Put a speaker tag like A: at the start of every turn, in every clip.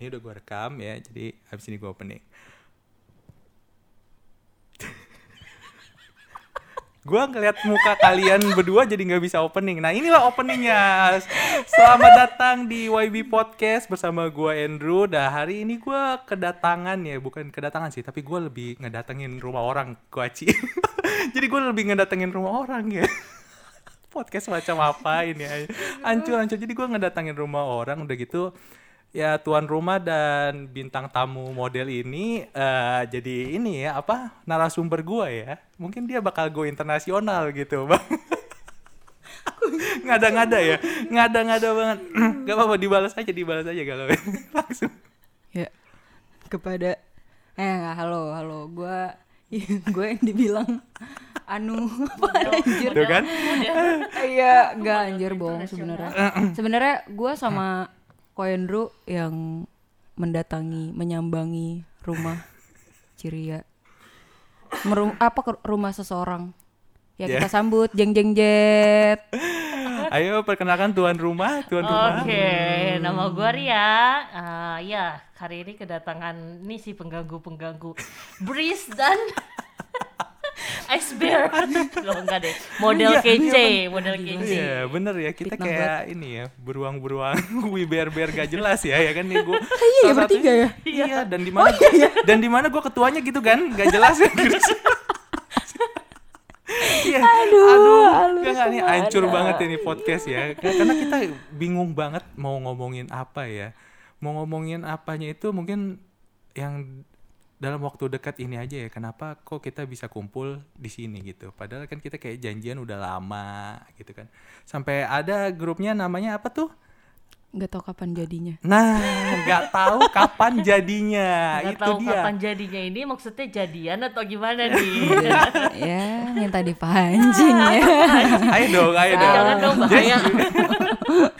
A: Ini udah gue rekam ya, jadi habis ini gue opening. gue ngeliat muka kalian berdua jadi nggak bisa opening. Nah inilah openingnya. Selamat datang di YB Podcast bersama gue Andrew. Nah hari ini gue kedatangan ya, bukan kedatangan sih, tapi gue lebih ngedatengin rumah orang, Kuaci. jadi gue lebih ngedatengin rumah orang ya podcast macam apa ini hancur hancur jadi gue ngedatangin rumah orang udah gitu ya tuan rumah dan bintang tamu model ini eh jadi ini ya apa narasumber gue ya mungkin dia bakal go internasional gitu bang ngada-ngada ya ngada-ngada banget gak apa-apa dibalas aja dibalas aja kalau langsung
B: ya kepada eh nggak, halo halo gue gue yang dibilang anu apa anjir
A: tuh kan
B: iya nggak anjir bohong sebenarnya sebenarnya gue sama Koendru yang mendatangi menyambangi rumah Ciria Merum, apa ke rumah seseorang ya
A: Ya.
B: kita sambut jeng jeng jet
A: ayo perkenalkan tuan rumah tuan rumah
C: Oke,
A: Hmm.
C: nama gue Ria. Ah, ya, hari ini kedatangan ini si pengganggu-pengganggu Breeze dan Ice Bear. Loh enggak deh, model
A: Iya,
C: kece, model
A: Oh
C: kece.
A: Iya bener ya kita
B: Fitnah
A: kayak ini ya beruang-beruang wiber-ber gak jelas ya ya kan nih gue
B: iya, bertiga ya?
A: iya dan di mana dan di mana gue ketuanya gitu kan gak jelas ya Iya, aduh, aduh gak, nih hancur banget ini podcast ya karena kita bingung banget mau ngomongin apa ya mau ngomongin apanya itu mungkin yang dalam waktu dekat ini aja ya kenapa kok kita bisa kumpul di sini gitu padahal kan kita kayak janjian udah lama gitu kan sampai ada grupnya namanya apa tuh
B: nggak tahu kapan jadinya
A: nah nggak tahu kapan jadinya
C: Nggak
A: iya. itu
C: tahu
A: dia
C: kapan jadinya ini maksudnya jadian atau gimana nih?
A: Iya.
B: ya minta dipancing ya
A: ayo dong ayo dong
C: Jangan dong,
A: Jess,
C: bahaya.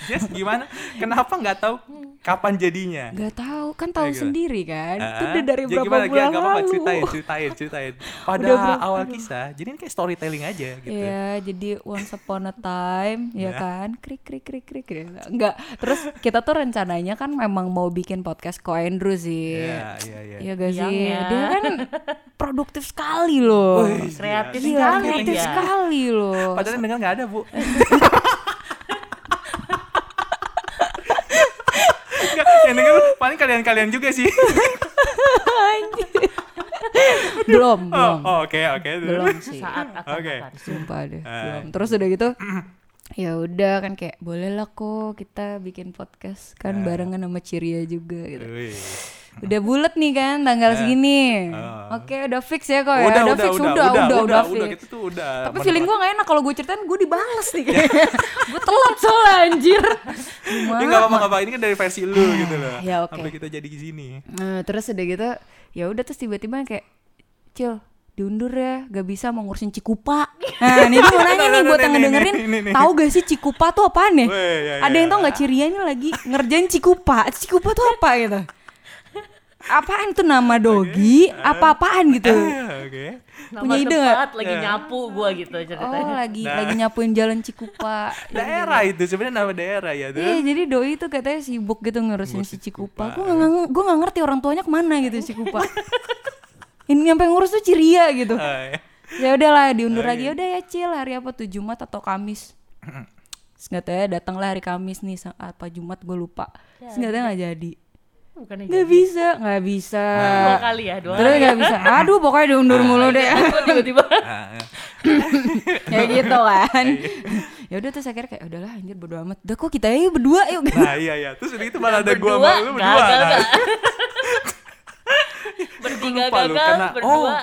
A: Jess gimana kenapa nggak tahu kapan jadinya
B: nggak tahu kan tahu
A: Iya, gimana?
B: sendiri kan itu
A: Ah,
B: udah dari
A: jadi
B: berapa
A: gimana? Gak-
B: bulan
A: gak apa-apa,
B: lalu
A: ceritain gitu ya. ceritain ceritain pada
B: Udah berapa-
A: awal kisah jadi ini kayak storytelling aja gitu
B: Iya, jadi once upon a time,
A: Iya.
B: ya kan? Krik krik krik krik. krik. Enggak. Terus kita tuh rencananya kan memang mau bikin podcast Ko Andrew sih.
A: Iya, iya, iya.
B: Iya gak sih?
C: Siang ya.
B: Dia kan produktif sekali loh.
A: Wih,
C: Kreatif
A: Iya,
B: Gila,
C: sekali
B: kreatif
C: ya.
B: sekali loh.
A: Padahal yang dengar nggak ada bu. Nggak, yang denger paling kalian-kalian juga sih.
B: belum, belum.
A: Oh, oh, oke oke.
B: Belum sih.
C: Saat akan
A: Oke.
C: akan.
B: Sumpah deh,
A: Ah.
B: belum. Terus udah gitu ya udah kan kayak boleh lah kok kita bikin podcast
A: Eh.
B: kan barengan sama Ciria juga gitu.
A: Wih.
B: Udah bulet nih kan tanggal segini.
A: Ah.
B: Oke, udah fix ya kok ya.
A: Eh. Udah, udah, udah,
B: fix,
A: udah, udah, udah, gitu. Eh,
B: fix.
A: kita tuh udah.
B: Tapi feeling gue gak enak kalau gue ceritain gue dibales nih kayaknya. gue telat soalnya anjir.
A: Ini Ya, nggak apa-apa, nggak apa-apa. Ini kan dari versi lu gitu loh.
B: Ya, oke.
A: Sampai kita jadi di sini.
B: Nah, terus udah gitu ya udah terus tiba-tiba kayak Cil diundur ya gak bisa mau ngurusin Cikupa nah ini gue mau nanya nih
A: Nih,
B: buat yang
A: nih,
B: ngedengerin
A: nih, nih, nih.
B: tahu gak sih Cikupa tuh apaan nih
A: nah, Weh, ya,
B: ada
A: ya.
B: yang tau gak Ciria ini lagi ngerjain Cikupa Cikupa tuh apa gitu apaan tuh nama dogi apa-apaan gitu
A: Ah, Oke.
C: Nama
B: Punya ide nggak?
C: tempat lagi
A: Iya.
C: nyapu gue gitu
B: oh
C: ceritanya.
B: lagi
A: Nah.
B: lagi nyapuin jalan Cikupa
A: Daerah itu sebenarnya nama daerah ya tuh.
B: Iya jadi doi tuh katanya sibuk gitu ngurusin si
A: Cikupa.
B: Cikupa. Gue nggak gue nggak ngerti orang tuanya kemana gitu si Cikupa. Ini nyampe ngurus tuh Ciria gitu.
A: Ah, ya.
B: Ya udahlah diundur lagi. Udah ya Cil hari apa tuh Jumat atau Kamis? Terus Katanya datanglah hari Kamis nih sa- apa Jumat gue lupa. Terus
A: Ya,
B: katanya nggak jadi.
A: Oh.
C: Bukan aja.
B: Nggak bisa, nggak bisa.
A: Nah.
C: Dua kali ya,
A: Iya.
C: dua
B: Terus nggak bisa. Aduh pokoknya diundur mulu deh.
C: tiba-tiba.
A: Ah, ya.
B: ya gitu kan.
A: Iya.
B: ya udah terus akhirnya kayak udahlah anjir bodo amat. Udah kok kita aja berdua yuk.
A: Nah iya iya. Terus udah gitu malah ada gua
C: berdua,
A: sama lu berdua.
C: gagal,
A: Nah,
C: Kak.
A: Gue
C: Bertiga
A: lupa loh,
C: gagal,
A: karena-
C: berdua.
A: oh,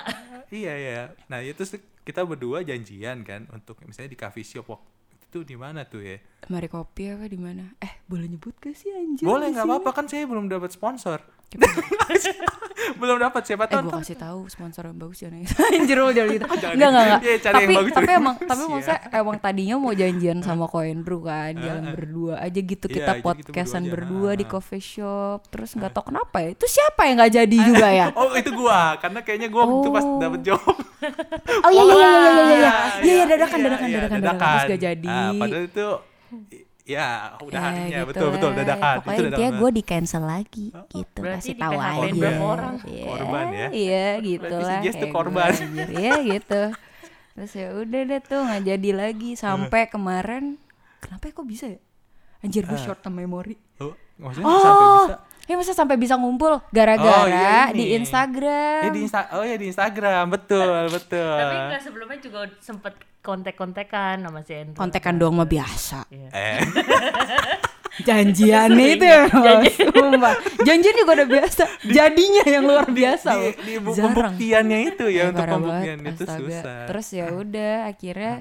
A: iya ya nah itu terus kita berdua janjian kan untuk misalnya di coffee shop waktu itu di mana tuh ya
B: Mari kopi apa di mana? Eh, boleh nyebut gak sih anjir?
A: boleh
B: di
A: nggak
B: sini?
A: apa-apa kan saya belum dapat sponsor belum dapat siapa
B: Eh,
A: tahu
B: gue
A: ntar-
B: kasih tahu sponsor yang bagus jangan ya. anjir lo jangan gitu. Enggak,
A: Jangan
B: enggak,
A: gitu.
B: enggak.
A: Iya, cari yang
B: Tapi
A: bagus,
B: tapi
A: cari yang
B: emang
A: bagus,
B: tapi
A: ya.
B: maksudnya emang tadinya mau janjian sama Koendru kan, jalan berdua aja gitu
A: Iya,
B: kita
A: aja gitu
B: podcastan
A: berdua aja.
B: berdua, di
A: Ah.
B: coffee shop. Terus nggak tahu kenapa ya. Itu siapa yang nggak jadi juga ya?
A: oh itu gua karena kayaknya gua waktu itu pas
B: Oh.
A: dapat job
B: Oh iya iya iya iya iya iya.
A: Wah,
B: Iya iya dadakan dadakan
A: iya,
B: dadakan dadakan terus gak jadi.
A: Ah, padahal itu i- Ya, udah
B: Ya,
A: harinya
B: gitu
A: betul betul
B: lah.
A: dadakan.
B: Pokoknya intinya
A: dadakan.
B: gue di cancel lagi gitu
C: Berarti
B: kasih
C: di
B: tahu
C: PHP
B: aja
A: berapa
C: orang?
B: Iya,
A: Korban ya?
B: iya gitu
A: Berarti si
B: lah
A: Jess tuh
B: kayak
A: korban.
B: gua, anjir. Iya gitu terus ya udah deh tuh nggak jadi lagi sampai kemarin kenapa ya kok bisa ya anjir gue short term memory
A: Oh, maksudnya sampai bisa.
B: ya masa sampai bisa ngumpul gara-gara
A: Oh, iya
B: di
A: ini.
B: Instagram
A: Ya di Insta- oh ya di Instagram, betul, betul.
C: Tapi enggak sebelumnya juga sempet kontek-kontekan sama si Andrew. Iya.
B: kontekan doang mah biasa
A: Eh,
B: janjian itu ya Mas. Sumpah. janjian juga udah biasa jadinya yang luar biasa
A: di,
B: loh.
A: di bu-
B: Jarang.
A: pembuktiannya itu ya
B: Iya,
A: untuk
B: parah
A: pembuktian
B: banget,
A: itu
B: astaga.
A: susah. Ah.
B: Terus ya udah akhirnya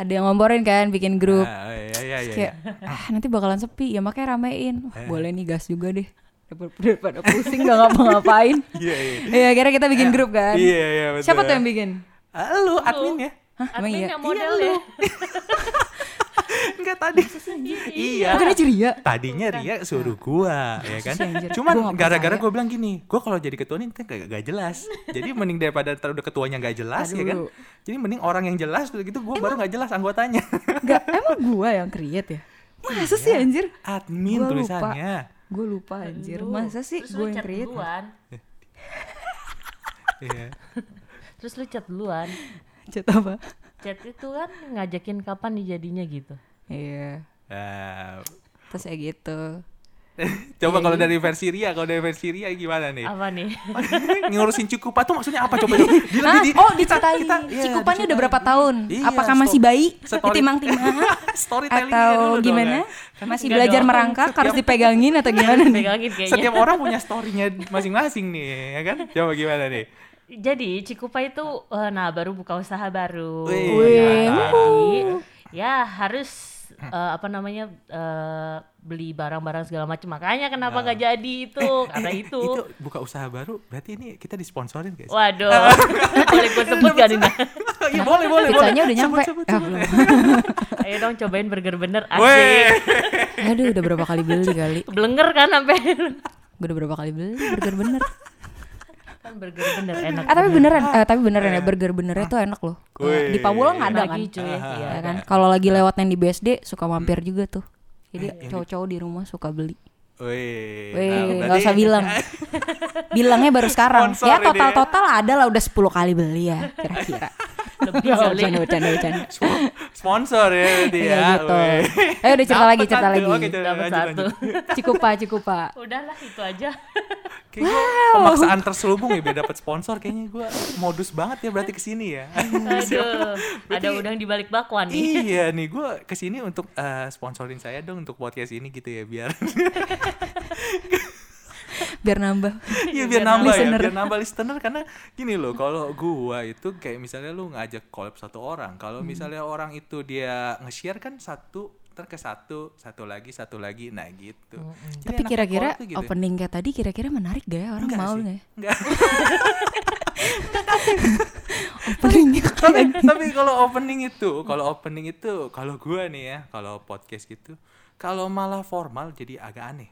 B: ada yang ngomporin kan bikin grup.
A: Ah, iya, iya, iya. Eh.
B: Kayak ah nanti bakalan sepi ya makanya ramein. Wah, Boleh nih gas juga deh. Daripada- Daripada pusing gak ngapa-ngapain.
A: Iya, iya.
B: Iya akhirnya kita bikin grup kan.
A: Iya, iya, betul.
B: Siapa tuh yang bikin?
A: Ah, lu admin ya?
B: Hah, emang
C: Admin
B: iya?
C: yang model
A: Iya,
C: ya.
A: Enggak tadi. iya.
B: Bukannya ceria?
A: Tadinya Ria suruh gua, ya kan?
B: sih, Nah. anjir? Gua
A: Cuman
B: nggak
A: gara-gara
B: percaya.
A: gua bilang gini, gua kalau jadi ketua ini kan gak, gak jelas. Jadi mending daripada ntar udah ketuanya gak jelas, ya kan?
B: Aduh.
A: Jadi mending orang yang jelas udah gitu, gua baru gak jelas anggotanya.
B: Enggak, emang gua yang create ya? Masa sih anjir?
A: Admin
B: Gua lupa.
A: tulisannya.
B: Gue lupa anjir.
C: Lu.
B: Masa sih
C: Terus lu
B: gue yang
C: chat
B: create?
C: duluan.
A: Iya.
C: Terus lu chat duluan.
B: Chat apa?
C: Chat itu kan ngajakin kapan nih jadinya gitu.
B: Iya.
A: Nah,
B: Terus ya gitu.
A: coba
B: Iya,
A: kalau dari versi Ria, kalau dari versi Ria gimana nih?
C: Apa nih?
A: Ngurusin Cikupa tuh maksudnya apa coba? coba. Dia
B: Ah,
A: lebih di-
B: oh
A: kita-
B: diceritain
A: kita- iya,
B: Cikupannya udah
A: diceritain.
B: berapa tahun?
A: Iya,
B: Apakah
A: sto-
B: masih bayi?
A: story-
B: Ditimang-timang?
A: Storytellingnya dulu
B: atau
A: dong,
B: gimana?
A: ya.
B: Masih
C: enggak
B: belajar
C: dong.
B: merangkak harus dipegangin atau gimana nih?
C: Pegangin kayaknya.
A: Setiap orang punya storynya masing-masing nih, ya kan? Coba gimana nih?
C: Jadi Cikupa itu eh, nah baru buka usaha baru.
A: Wih, iya.
B: Wih,
A: mantap.
C: Jadi ya harus eh, apa namanya eh, beli barang-barang segala macam. Makanya
A: Nah.
C: kenapa gak jadi itu karena
A: Eh,
C: Oh, itu.
A: Itu buka usaha baru, berarti ini kita disponsorin guys.
C: Waduh, boleh gue sebut gak nih? Nah?
A: Iya boleh boleh.
B: Pizzanya udah
A: Sebut,
B: nyampe.
A: sebut,
B: Ah,
A: sebut.
B: belum.
C: Ayo dong cobain burger bener
A: Weh.
C: asik.
B: Aduh, udah berapa kali beli kali?
C: Belenger kan sampai.
B: Gue udah berapa kali beli burger bener.
C: kan burger bener enak.
B: Ah, tapi
A: Iya.
B: beneran, eh, tapi beneran ya burger benernya tuh enak loh.
A: Wih.
B: Di Pamulang nggak ada kan?
C: Lagi cuy. Iya.
B: Ya kan? Kalau lagi lewat yang di BSD suka mampir juga tuh.
A: Iya.
B: Jadi cowok-cowok di rumah suka beli.
A: Wih,
B: Weh,
A: nah,
B: nggak
A: berarti-
B: usah bilang. Bilangnya baru sekarang.
A: Sponsor
B: ya
A: ini ya.
B: total-total ada lah udah 10 kali beli ya kira-kira.
C: Lebih
B: Oh,
C: kali.
B: bercanda, bercanda, bercanda.
A: Spo- Sponsor ya berarti
B: Iya
A: ya.
B: gitu.
A: weh.
B: Ayo udah cerita
A: Dapet
B: lagi, cerita
A: satu,
B: lagi.
A: Oke, cerita
C: Dapat
A: lanjut,
C: satu.
A: lanjut.
B: Cikupa, Cikupa.
C: Udahlah itu aja.
A: Kayaknya pemaksaan terselubung ya biar dapat sponsor kayaknya gua modus banget ya berarti kesini ya.
B: Iya.
C: Aduh, ada udang di balik bakwan nih.
A: iya nih gue kesini untuk eh, sponsorin saya dong untuk podcast ini gitu ya biar
B: Biar nambah.
A: Iya biar nambah ya,
B: listener.
A: biar nambah listener karena gini loh kalau gua itu kayak misalnya lu ngajak collab satu orang,
B: Hmm.
A: kalau misalnya orang itu dia nge-share kan satu ntar ke satu, satu lagi, satu lagi, nah gitu. Jadi
B: Tapi
A: enaknya
B: kira-kira
A: collab tuh gitu.
B: opening kayak tadi kira-kira menarik gak ya orang
A: Enggak
B: mau
A: sih,
B: nggak ya?
A: enggak.
B: Openingnya
A: tapi,
B: kayak
A: tapi kalau opening itu, kalau opening itu kalau gua nih ya, kalau podcast gitu, kalau malah formal jadi agak aneh.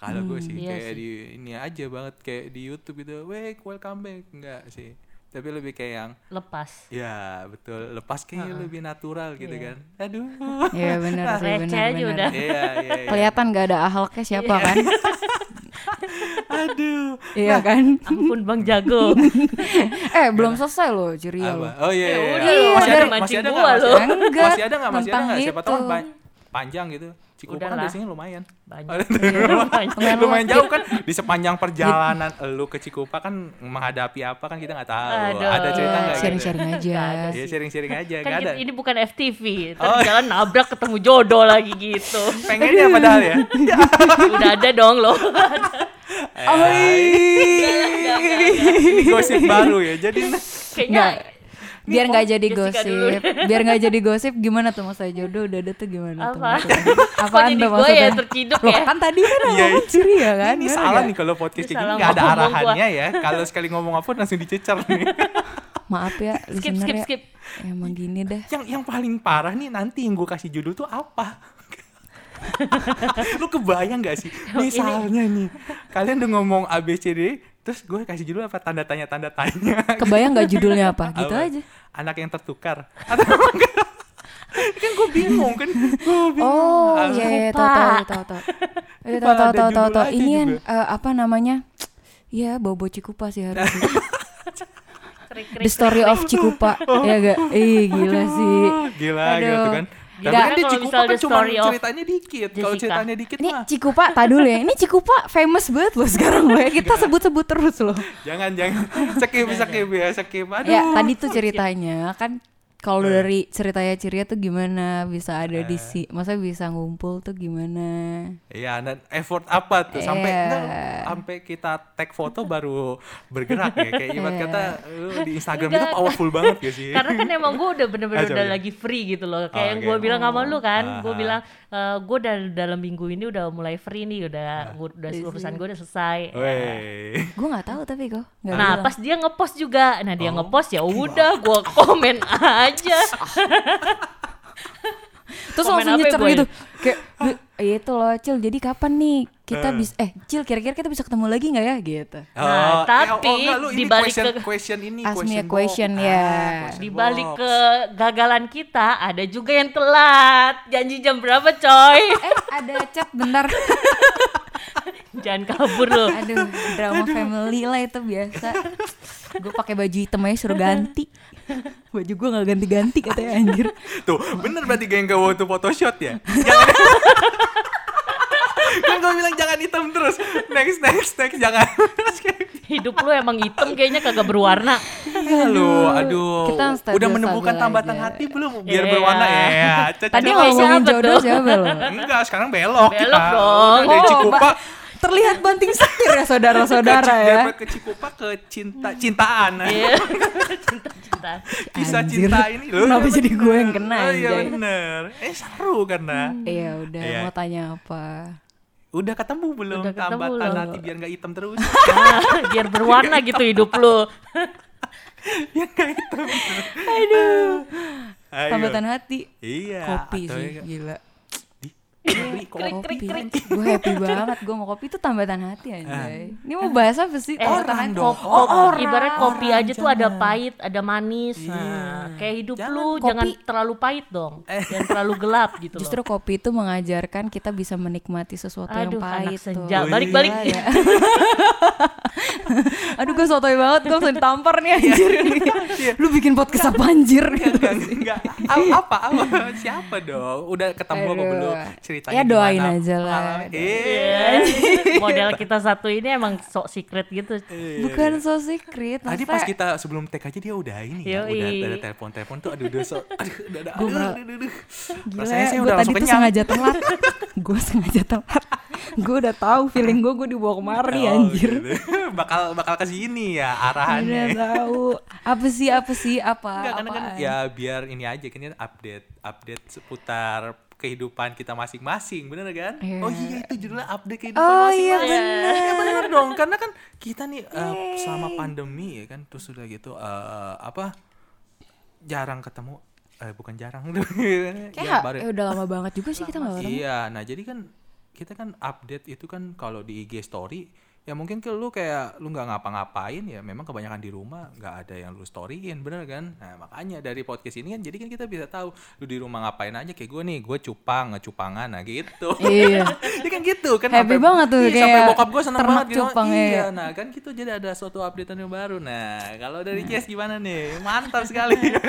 A: Kalau gue sih
C: iya
A: kayak di ini aja banget kayak di YouTube gitu, weh welcome back enggak sih. Tapi lebih kayak yang
C: Lepas.
A: Ya betul, lepas kayaknya lebih natural gitu kan. Aduh.
B: Iya benar sih
C: Receh
B: benar
C: aja
B: benar.
C: udah.
A: Iya, iya. iya.
B: Kelihatan gak ada ahlaknya siapa kan?
A: Aduh.
B: Iya kan?
C: Ampun Bang Jago.
B: Eh belum selesai loh ceria
A: Nah. Apa?
B: loh.
A: Oh iya.
C: Eh,
A: iya,
C: udah
A: iya.
C: lu
A: Masih ada
C: mancing
A: masih ada
C: gua
A: enggak?
C: lu.
A: Masih,
B: Enggak,
A: masih ada enggak? Masih ada
B: tentang
A: enggak? Siapa tahu kan
B: itu.
A: pan- panjang gitu. Cikupa kan
C: Udahlah.
A: biasanya lumayan.
C: Banyak.
A: lumayan,
B: Lumayan
A: lumayan
B: luas.
A: jauh kan di sepanjang perjalanan lu ke Cikupa kan menghadapi apa kan kita nggak tahu.
C: Aduh.
A: Ada cerita
B: Iya,
A: nggak? gitu?
B: Sharing-sharing aja.
C: Nggak ada
A: Ya sharing-sharing aja,
C: Kan
A: nggak ada.
C: kita- ini bukan FTV. Ntar
A: Oh.
C: jalan nabrak ketemu jodoh lagi gitu.
A: Pengennya padahal ya.
C: Udah ada dong loh.
A: Ini gosip baru ya. Jadi
B: Nggak.
C: Kayaknya
B: Biar nggak jadi
C: Oh, Jessica dulu.
B: gosip, biar nggak jadi gosip gimana tuh maksudnya jodoh udah ada tuh gimana tuh?
C: Apa?
B: maksudnya?
C: Kok
B: Apaan
C: jadi
B: tuh
C: gua
B: maksudnya?
C: yang terciduk
B: Loh,
C: ya?
B: kan tadi kan
A: Iya,
B: ngomong
A: iya.
B: ceria kan?
A: Ini
B: bener
A: salah
B: nggak?
A: nih kalau podcast
C: Ini
A: kayak gini
C: salah
A: nggak ada
C: ngomong
A: arahannya ya. Kalau sekali ngomong apa langsung dicecer nih.
B: Maaf ya,
C: skip
B: listener
C: skip
B: ya.
C: skip.
B: Emang gini dah.
A: yang yang paling parah nih nanti yang gue kasih judul tuh apa? Lu kebayang gak sih?
B: Oh,
A: Misalnya nih, kalian udah ngomong ABCD, terus gue kasih judul apa tanda tanya tanda tanya.
B: Kebayang nggak judulnya apa? Gitu
A: Apa?
B: aja.
A: Anak yang tertukar. Atau enggak? kan gue bingung kan gue bingung
B: Oh,
A: Ah,
B: iya iya
C: lupa.
B: tahu tahu tahu tahu. Udah
A: Lupa
B: tahu tahu
A: ada
B: tahu tahu
A: judul
B: tahu.
A: aja
B: Ini yang
A: juga.
B: eh, apa namanya? Ya, bobo Cikupa sih harus.
C: Krik, krik,
B: The story of Cikupa. ya gak? Ih, gila sih.
A: gila
B: Aduh.
A: gitu kan tapi
C: Gila,
A: kan di
C: kalau
A: Cikupa
C: misal
A: kan
C: the
A: cuma
C: story of
A: ceritanya dikit kalau
C: Jessica.
A: ceritanya dikit
B: Ini
A: mah
B: Cikupa, tak dulu ya. Ini Cikupa famous banget loh sekarang loh ya. Kita sebut-sebut terus loh.
A: jangan jangan skip skip ya skip aduh
B: Ya, tadi
C: Iya.
B: tuh ceritanya kan kalau dari ceritanya Ciria tuh gimana bisa ada di si, masa bisa ngumpul tuh gimana?
A: Iya, dan effort apa tuh sampai
B: Iya.
A: enggak, sampai kita tag foto baru bergerak ya kayak ibarat
B: Iya.
A: kata lu di Instagram itu
C: Enggak.
A: powerful banget gak sih?
C: Karena kan emang gue udah bener-bener
A: Aja,
C: udah
A: aja.
C: lagi free gitu loh. Kayak yang
A: oke. Ah,
C: gue bilang sama lu kan, gue
A: Aha.
C: bilang gue dari dalam minggu ini udah mulai free nih,
A: Ah.
C: udah gua- udah urusan gue udah selesai.
A: Oh, iya. Weh.
B: Gue nggak tahu tapi kok. nggak
C: Nah
B: bilang.
C: pas dia ngepost juga,
A: Oh.
C: nah dia ngepost ya udah gue komen aja.
B: Terus
C: Komen
B: langsung
C: apa ya,
B: nyecer
C: Boy?
B: gitu Kayak "Duh, iya itu loh Cil jadi kapan nih kita bisa Eh Cil kira-kira kita bisa ketemu lagi nggak ya gitu
C: Nah,
A: Oh, eh, oh,
C: tapi
A: enggak, lu ini
C: di balik
A: question,
C: ke-
A: question ini
B: Ask me a
A: box.
B: question,
A: Ah,
B: ya.
A: question
C: Di balik
A: box.
C: kegagalan kita ada juga yang telat. Janji jam berapa coy?
B: Eh ada chat bentar
C: Jangan kabur lo.
B: Aduh drama family lah itu biasa Gue pakai baju hitam aja suruh ganti Baju gue gak ganti-ganti katanya anjir
A: Tuh, bener berarti geng gak waktu photoshoot ya? Jangan Kan gue bilang jangan hitam terus Next, next, next, jangan
C: Hidup lu emang hitam kayaknya kagak berwarna.
A: Iya lu, aduh
B: Kita stabil-stabil
A: Udah menemukan
B: aja.
A: tambatan hati belum? Biar
C: Iya.
A: berwarna ya cocok.
B: Tadi
C: Coba
B: ngomongin
C: siapa
B: jodoh
C: tuh?
B: siapa lo
A: Enggak, sekarang belok,
C: Belok
A: kita.
C: dong.
A: Udah Dari
B: Oh,
A: Cikupa
B: ba- Terlihat banting setir ya saudara-saudara
A: ke,
B: ya
A: dari ke Cikupa ke cinta cintaan.
C: Iya. Cinta-cinta.
A: Kisah
B: Anjir.
A: cinta ini lu.
B: Kenapa jadi gue yang kena,
A: Oh, iya
B: anjay.
A: bener. Eh seru karena
B: Iya udah
A: Iya.
B: mau tanya apa
A: udah ketemu belum
C: Udah ketemu
A: tambatan
C: belum?
A: hati biar nggak hitam terus.
C: Ah, biar berwarna gitu hidup lu.
A: biar nggak hitam. Aduh. Ayo.
B: Tambatan hati
A: Iya.
B: Kopi
A: atau
B: sih
A: ya-
B: gila
A: Ih, kopi, kopi.
B: kopi gue happy banget gue mau kopi itu tambatan hati
A: Ah.
B: anjay ini mau bahas apa sih
C: Eh,
B: Tambatan
A: orang
B: hati.
A: dong.
C: Kop-
A: Oh,
C: kop-
A: orang.
C: ibarat kopi
A: Orang,
C: aja tuh ada
A: jangan. Iya.
C: pahit, ada manis. Nah, kayak hidup
A: Jangan Eh.
C: lu
B: kopi.
C: jangan terlalu pahit dong. Jangan terlalu gelap gitu loh.
B: justru kopi itu mengajarkan kita bisa menikmati sesuatu yang
C: Aduh, anak
B: pahit tuh
C: senja.
A: Iya.
C: Balik-balik.
B: Gila ya. aduh gue sotoy banget gue langsung ditampar nih anjir lu bikin podcast apa anjir gitu
A: Enggak, enggak. A- apa apa siapa dong udah ketemu apa
B: Aduh.
A: belum ceritanya
B: Ya, doain
A: gimana?
B: aja lah.
A: Pengalaman- eh
C: Iya. Model kita satu ini emang sok secret gitu.
B: bukan so secret
A: Iya, Tadi pas gitu, kita sebelum tag aja dia udah ini ya,
C: Yoi.
A: udah ada telepon-telepon tuh aduh dosa, aduh udah aduh,
B: Gua
A: aduh,
B: mer-
A: aduh, aduh.
B: Gila,
A: Rasanya saya
B: gua
A: udah
B: tadi
A: langsung
B: tuh
A: kenyang.
B: sengaja telat gue sengaja telat gue udah tahu feeling gue gue dibawa kemari
A: Oh,
B: anjir
A: gitu. bakal bakal ke sini ya
B: Udah
A: arahannya.
B: tahu apa sih apa sih apa
A: Enggak karena kan
B: apaan?
A: ya biar ini aja kan ya, update update seputar kehidupan kita masing-masing bener kan?
B: Iya.
A: Oh iya itu judulnya update kehidupan
B: Oh, iya,
A: masing-masing. Ya, bener dong karena kan kita nih eh, selama pandemi ya kan terus udah gitu eh, apa jarang ketemu eh bukan jarang
B: Kayak
A: ya, baru-
B: eh, udah lama banget juga sih kita nggak ketemu.
A: Iya, nah jadi kan kita kan update itu kan kalau di IG story ya mungkin ke lu kayak lu nggak ngapa-ngapain ya memang kebanyakan di rumah nggak ada yang lu storyin bener kan nah makanya dari podcast ini kan jadi kan kita bisa tahu lu di rumah ngapain aja kayak gue nih gue cupang ngecupangan nah gitu
B: Iya.
A: ya kan gitu kan
B: Happy banget tuh,
A: iya, sampai
B: kayak
A: bokap gue seneng
B: ternak
A: banget gitu
B: cupang, ya.
A: iya nah kan gitu jadi ada suatu updatean yang baru nah kalau dari Jess gimana nih mantap sekali ini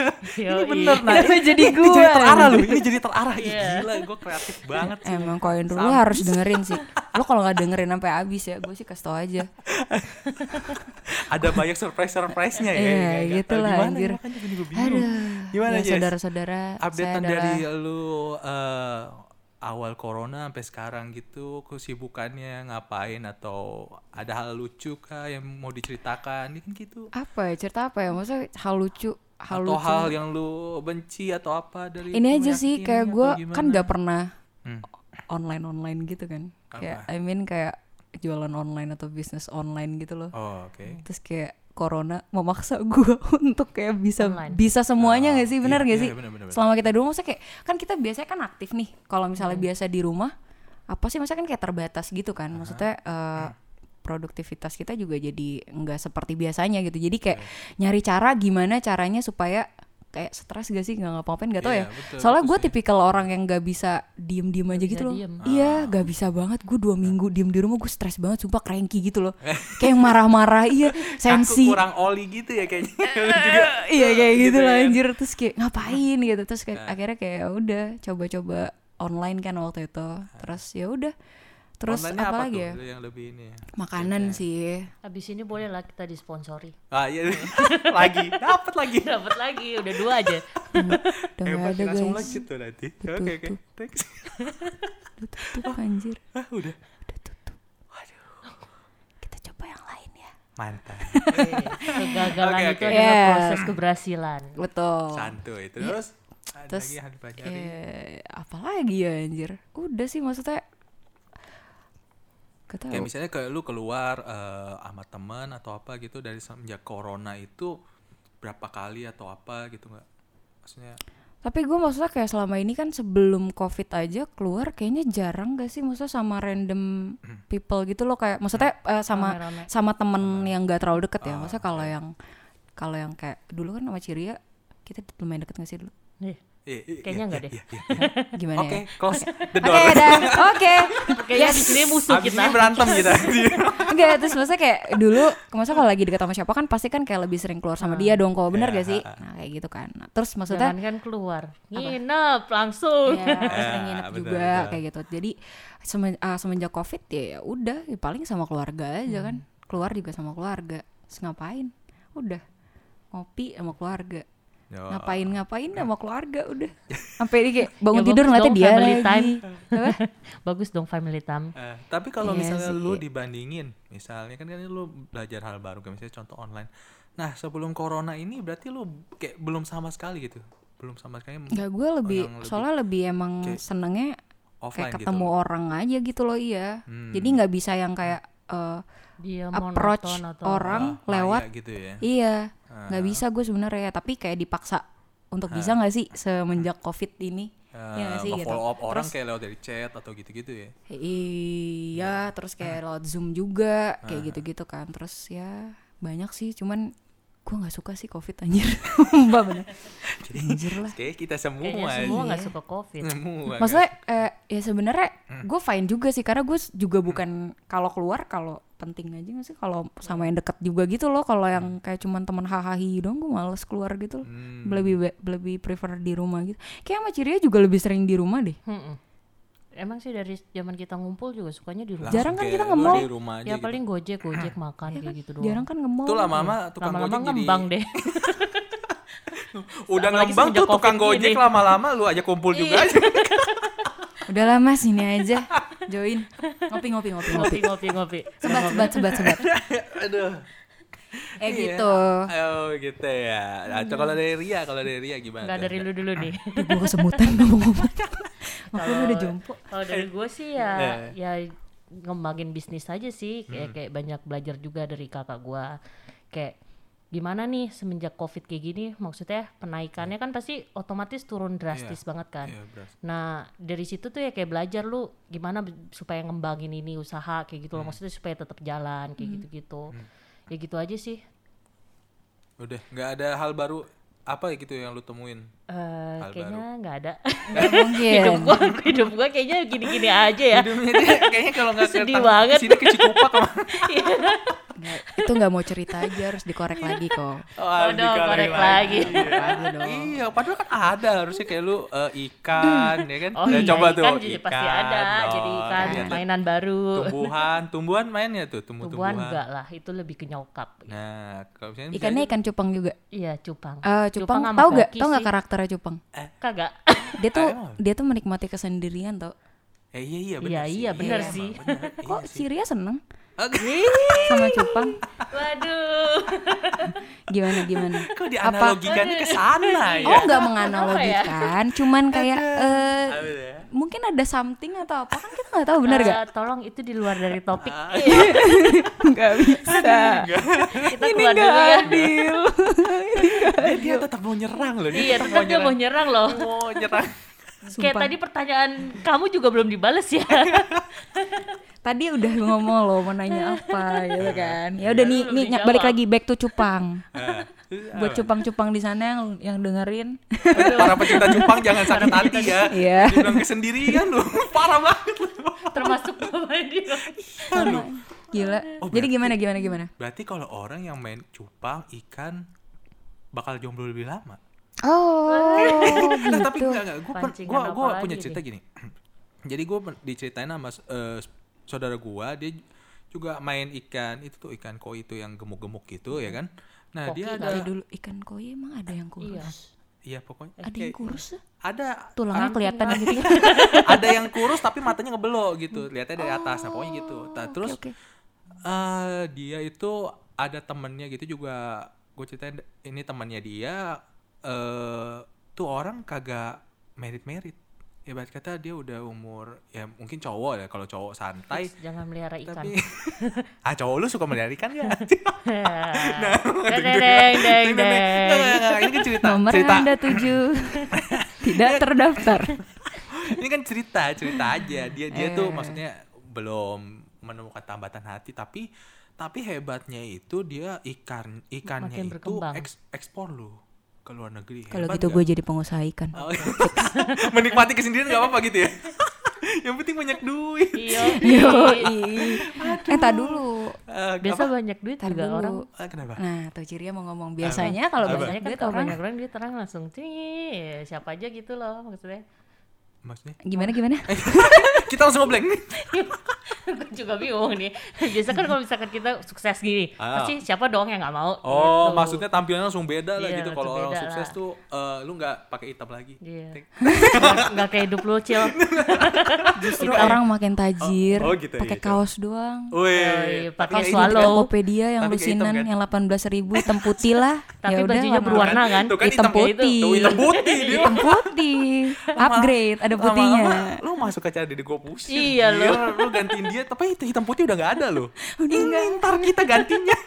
C: Yoi.
A: bener nah
B: Kenapa
A: ini-
B: jadi
A: ini jadi
B: gua?
A: terarah lu ini jadi terarah Ih,
C: Iya.
A: gila gue kreatif banget sih
B: Emang koin dulu
A: Sam-
B: harus dengerin sih. Lo kalau nggak dengerin sampai habis ya, gue sih kasih tau aja.
A: ada banyak surprise surprise-nya ya.
B: Iya,
A: Nggak tahu
B: gitu lah,
A: gimana,
B: anjir.
A: makanya gini gue bingung.
B: Aduh.
A: Gimana,
B: ya,
A: Jess?
B: saudara-saudara, saya
A: Updatean
B: adalah
A: dari lu eh, awal corona sampai sekarang gitu kesibukannya ngapain atau ada hal lucu kah yang mau diceritakan? Ini kan gitu.
B: apa ya cerita apa ya? Maksudnya hal lucu, hal
A: atau
B: lucu.
A: hal yang lu benci atau apa dari
B: Ini
A: lu
B: aja
A: yang
B: sih
A: ini
B: kayak
A: atau
B: gue
A: gimana?
B: kan nggak pernah
A: Hmm.
B: online online gitu kan. Kayak I mean kayak jualan online atau bisnis online gitu loh.
A: Oh, oke.
B: Terus kayak corona memaksa gue untuk kayak bisa
C: Online.
B: bisa semuanya
A: Ah,
B: nggak sih benar
A: iya,
B: nggak
A: iya,
B: sih
A: benar, benar, benar.
B: selama kita di rumah maksudnya kayak kan kita biasanya kan aktif nih kalau misalnya
A: Hmm.
B: biasa di rumah apa sih maksudnya kan kayak terbatas gitu kan maksudnya eh,
A: Hmm.
B: produktivitas kita
A: Iya.
B: juga jadi nggak seperti biasanya gitu jadi kayak nyari cara gimana caranya supaya kayak stres gak sih nggak ngapa-ngapain nggak tau
A: Iya,
B: ya
A: betul,
B: soalnya gue
A: betul sih.
B: tipikal orang yang gak bisa diem-diem aja
C: bisa
B: gitu loh
C: diem.
A: Ah.
B: iya gak bisa banget gue
A: Nah.
B: dua minggu diem di rumah gue stres banget sumpah cranky gitu loh kayak yang marah-marah iya sensi
A: Aku kurang oli gitu ya kayaknya. Lu juga.
B: iya kayak gitu,
A: Gitu
B: lah
A: kan. Nah.
B: anjir terus kayak ngapain gitu terus kayak akhirnya kayak "Ya udah coba-coba online kan waktu itu terus ya udah terus
A: Nah. Online-nya
B: apa
A: tuh
B: lagi
A: Iya.
B: ya
A: lu yang lebih ini.
B: makanan sih
C: Abis ini boleh lah kita disponsori.
A: Ah iya lagi dapat lagi.
C: Dapat lagi, udah dua aja.
B: udah nggak
A: Hebat,
B: ada
A: langsung
B: guys
A: lanjut tuh nanti.
B: Betul
A: Oke oke.
B: tuh.
A: Thanks.
B: udah tutup anjir
A: Ah, udah.
B: udah tutup kita coba yang lain ya
A: Mantap.
C: Kegagalan
A: Oke,
C: itu
A: oke.
C: adalah
B: Yeah.
C: proses keberhasilan.
B: betul
A: Santuy. Terus ada
B: Oh. Iya. Terus,
A: lagi yang harus dipelajari.
B: eh apalagi ya anjir udah sih maksudnya Gak
A: Kayak
B: tahu
A: misalnya kayak lu keluar eh, sama temen atau apa gitu dari semenjak corona itu berapa kali atau apa gitu nggak? Maksudnya
B: tapi gue maksudnya kayak selama ini kan sebelum covid aja keluar kayaknya jarang gak sih maksudnya sama random people gitu loh kayak maksudnya eh, sama
C: Rame-rame.
B: sama temen yang gak terlalu deket ya maksudnya kalau yang kalau yang kayak dulu kan sama Ciria kita lumayan deket gak sih dulu
C: Nih,
A: iya, iya,
C: Kayaknya
A: iya,
C: nggak deh.
A: iya, iya.
B: gimana
A: Oke,
B: ya
A: close the
B: Oke,
A: door.
B: dah. Oke.
C: Kayaknya
B: Yes.
C: di sini musuh
A: Abis
C: kita.
A: ini berantem kita.
B: Enggak, terus maksudnya kayak dulu maksudnya kalau lagi dekat sama siapa kan pasti kan kayak lebih sering keluar sama dia dong kok, bener gak sih? Nah, kayak gitu kan. Nah, terus maksudnya
C: Jangan kan keluar. Nginep langsung.
A: Iya.
B: ya, sering nginep
A: betul,
B: juga
A: betul.
B: kayak gitu. Jadi semen- ah, semenjak Covid ya ya udah ya paling sama keluarga aja kan.
A: Hmm.
B: Keluar juga sama keluarga. Terus ngapain? Udah ngopi sama keluarga.
A: Yo.
B: Ngapain ngapain
A: Nah.
B: sama keluarga udah. Sampai ini kayak bangun
C: Ya,
B: tidur
C: bagus
B: nanti
C: dong,
B: dia
C: family
B: lagi.
C: time.
B: Apa?
C: Bagus dong family time.
A: Eh, tapi kalau
B: Iya
A: misalnya
B: sih.
A: lu dibandingin, misalnya kan kan lu belajar hal baru, kayak misalnya contoh online. Nah sebelum corona ini berarti lu kayak belum sama sekali gitu, belum sama sekali
B: Enggak gue lebih,
A: Orang lebih-
B: soalnya lebih emang
A: kayak
B: senengnya
A: offline gitu.
B: kayak ketemu orang aja gitu loh iya.
A: Hmm.
B: Jadi nggak bisa yang kayak eh,
C: Dia
B: approach
C: monoton atau
B: orang
A: Ah, maya
B: lewat
A: gitu ya.
B: iya nggak bisa gue sebenarnya ya. tapi kayak dipaksa untuk bisa nggak sih semenjak covid ini Iya nggak sih
A: Eh,
B: gitu
A: nge-follow up orang kayak lewat dari chat atau gitu-gitu ya.
B: iya terus kayak lewat zoom juga kayak gitu-gitu kan terus ya banyak sih cuman gue nggak suka sih covid anjir mbak bener anjir lah
A: Oke, kita semua.
C: Kayaknya semua
A: aja.
C: nggak suka covid.
A: Semua, kan?
B: maksudnya eh, ya sebenarnya
C: Hmm.
B: gue fine juga sih karena gue juga bukan kalau keluar kalau penting aja nggak sih kalau sama yang deket juga gitu loh kalau yang
C: Hmm.
B: kayak cuman teman hahahi dong gue males keluar gitu loh
A: Hmm.
B: lebih be- lebih prefer di rumah gitu kayak sama Ciria juga lebih sering di rumah deh
C: Mm-mm. Emang sih dari zaman kita ngumpul juga sukanya di rumah.
A: Langsung
B: jarang kan
A: kayak
B: kita
A: lu
B: nge-mall.
A: di rumah aja
C: ya
A: gitu.
C: paling gojek gojek
B: Ah.
C: makan kayak gitu doang.
B: jarang kan nge-mall
A: Tuh lama-lama Iya, tukang
C: Lama-lama
A: gojek jadi
C: ngembang deh.
A: udah
C: Apalagi
A: ngembang tuh
C: semenjak
A: tukang
C: Covid
A: gojek
C: ini.
A: lama-lama lu aja kumpul
B: Iya.
A: juga aja.
B: udah lah mas ini aja join ngopi ngopi ngopi ngopi
C: ngopi ngopi ngopi.
B: sebat sebat sebat sebat
A: Aduh.
B: eh
A: Iya.
B: gitu Iya.
A: Oh, gitu ya. Nah, kalau dari Ria, kalau dari Ria gimana?
C: Nggak
A: tuh?
C: dari lu dulu deh.
B: Aduh, gue kesemutan ngomong-ngomong Makanya
C: Kalau-
B: udah jompo
C: Kalau dari gue sih
A: Iya.
C: ya ya ngembangin bisnis aja sih
A: Hmm.
C: kayak kayak banyak belajar juga dari kakak gue kayak gimana nih semenjak covid kayak gini maksudnya penaikannya kan pasti otomatis turun drastis banget kan
A: Iya, beras.
C: Nah dari situ tuh ya kayak belajar lu gimana b- supaya ngembangin ini usaha kayak
A: Hmm.
C: gitu loh maksudnya supaya tetap jalan
B: Hmm.
C: kayak gitu-gitu ya gitu aja sih
A: Udah, nggak ada hal baru apa gitu yang lu temuin?
C: Eh,
A: Hal
C: kayaknya nggak ada hidup
B: mungkin
C: gua hidup gua kayaknya gini-gini aja ya
A: Hidupnya dia kayaknya kalau nggak
C: Sedih
A: datang
C: banget.
A: Sini ke Cikupa kemana?
C: Iya.
B: Nggak, itu nggak mau cerita aja harus dikorek lagi kok
A: Waduh,
C: korek lagi.
B: lagi dong
A: Iya, padahal kan ada harusnya kayak lu eh, ikan ya kan.
C: Oh
A: Nah,
C: iya,
A: coba tuh
C: ikan juga pasti ada, jadi
A: dong.
C: ikan
A: Iya, tuh.
C: mainan baru.
A: Tumbuhan, tumbuhan mainnya tuh,
C: Tumbuhan
A: tumbuh-tumbuhan.
C: enggak lah, itu lebih ke nyokap.
A: Nah, kalau misalnya
B: ikannya ikan cupang juga
C: Iya, cupang.
B: Eh, cupang,
C: sama
B: tau gak
C: goki
B: tau gak
C: sih.
B: karakternya cupang
C: Kagak.
B: dia tuh
A: Emang?
B: dia tuh menikmati kesendirian tau
A: bisa- eh, iya iya benar
C: Iya,
A: sih.
C: iya, benar
A: emang,
C: sih.
A: benar. Iya
B: kok Siria seneng
A: Oke.
B: sama cupang
C: Waduh.
B: gimana gimana
A: Kok dianalogikannya ke sana ya?
B: oh nggak menganalogikan cuman kayak eh,
A: Ah, bener ya?
B: mungkin ada something atau apa kan kita nggak tahu benar gak
C: Eh, tolong itu di luar dari topik.
A: Ah,
C: Iya.
A: iya.
B: nggak bisa
C: Kita keluar dulu ya.
B: adil
A: Dia, dia tetap mau nyerang loh.
C: Iya, tetap dia mau nyerang loh.
A: Mau nyerang.
C: Kayak tadi pertanyaan kamu juga belum dibales ya.
B: Tadi udah ngomong loh mau nanya apa gitu kan. Ya udah
C: Iya,
B: nih
C: belum
B: nih
C: dijawab.
B: balik lagi back to cupang.
A: Eh, terus
B: Buat
A: apa?
B: cupang-cupang di sana yang yang dengerin.
A: para pecinta cupang jangan sakit hati ya.
B: Iya.
A: Dibilang kesendirian lu. Parah banget lu.
C: termasuk sama dia
A: Aduh.
B: Gila.
A: Oh,
B: Jadi
A: berarti-
B: gimana gimana gimana?
A: Berarti kalau orang yang main cupang, ikan bakal jomblo lebih lama.
B: Oh,
A: Nah, tapi enggak enggak gua per-
C: Pancingan
A: gua
C: apa
A: gua
C: lagi
A: punya
C: nih?
A: cerita gini. Jadi gua per- diceritain sama eh, saudara gua, dia juga main ikan itu tuh ikan koi itu yang gemuk-gemuk gitu ya kan. Nah,
C: Koki
A: dia
C: kali
A: ada
B: dulu ikan koi emang ada yang kurus.
C: iya
A: iya pokoknya
B: Ada yang
A: kayak-
B: kurus? ya?
A: ada
B: Tulangnya
A: orang-
B: kelihatan gitu ya.
A: ada yang kurus tapi matanya ngebelok gitu lihatnya dari atas nah, pokoknya gitu Nah,
B: Oke,
A: terus
B: oke.
A: eh, dia itu ada temennya gitu juga gue ceritain ini temannya dia eh tuh orang kagak merit merit ya berarti kata dia udah umur ya mungkin cowok ya kalau cowok santai
C: Fix, jangan melihara ikan
A: tapi ah cowok lu suka melihara ikan gak?
C: nah, deng deng deng
A: Neng, neng, neng. Nggak,
C: deng
A: nggak, nggak, ini kan cerita
B: Nomor
A: cerita
B: Anda tujuh tidak terdaftar.
A: ini kan cerita cerita aja dia dia
B: Eh.
A: tuh maksudnya belum menemukan tambatan hati tapi tapi hebatnya itu dia ikan ikannya
C: Makin
A: itu
C: berkembang.
A: eks- ekspor lo ke luar negeri
B: Kalau
A: Hebat
B: gitu
A: nggak?
B: gue jadi pengusaha ikan.
A: Oh, menikmati kesendirian nggak apa-apa gitu ya yang penting banyak duit
C: Iya.
B: Yoi. Eh, tak dulu.
A: Eh,
C: biasa
A: apa?
C: banyak duit
B: Tar
C: juga
B: dulu.
C: orang
A: Eh, kenapa
B: Nah, tuh Ciria mau ngomong biasanya kalau
A: Apa?
B: banyak
C: biasanya kan
B: duit
C: kalau
B: orang
C: banyak orang dia terang langsung cih siapa aja gitu loh maksudnya
A: maksudnya
B: gimana gimana?
A: Eh, kita langsung ngobrol
C: Iya. Gua juga bingung nih biasa kan kalau misalkan kita sukses gini
A: Ah.
C: pasti siapa dong yang nggak mau
A: oh
C: gitu.
A: maksudnya tampilannya langsung beda lah
C: Iya,
A: gitu
C: langsung
A: kalau orang
C: beda
A: sukses
C: lah.
A: tuh eh, lu nggak pakai hitam lagi
C: Iya.
A: Tik.
C: Nggak- nggak kayak hidup lu cil
B: Justru orang makin tajir,
A: Oh, oh gitu ya,
B: pakai
A: gitu.
B: kaos doang.
A: Wih,
C: Yoi, Oh, iya, pakai
A: tapi
B: Kaos
A: kayak
C: swallow.
A: ini kan-
B: Tokopedia yang
A: Tapi kayak hitam,
B: lusinan
A: kan?
B: yang 18.000 ribu hitam putih lah.
C: tapi
B: Ya udah,
C: bajunya
B: lama-
C: berwarna kan
A: Tuh kan
B: hitam
A: hitam kayak
B: putih.
A: itu. Tuh hitam putih dia.
B: Hitam putih, upgrade, ada putihnya.
A: Lama-lama lu masuk acara Dede gue pusing.
C: Iya, lu.
A: Gila, Lu gantiin dia, tapi itu hitam putih udah nggak ada lo.
B: Udah nggak.
A: Ini ntar kita gantinya.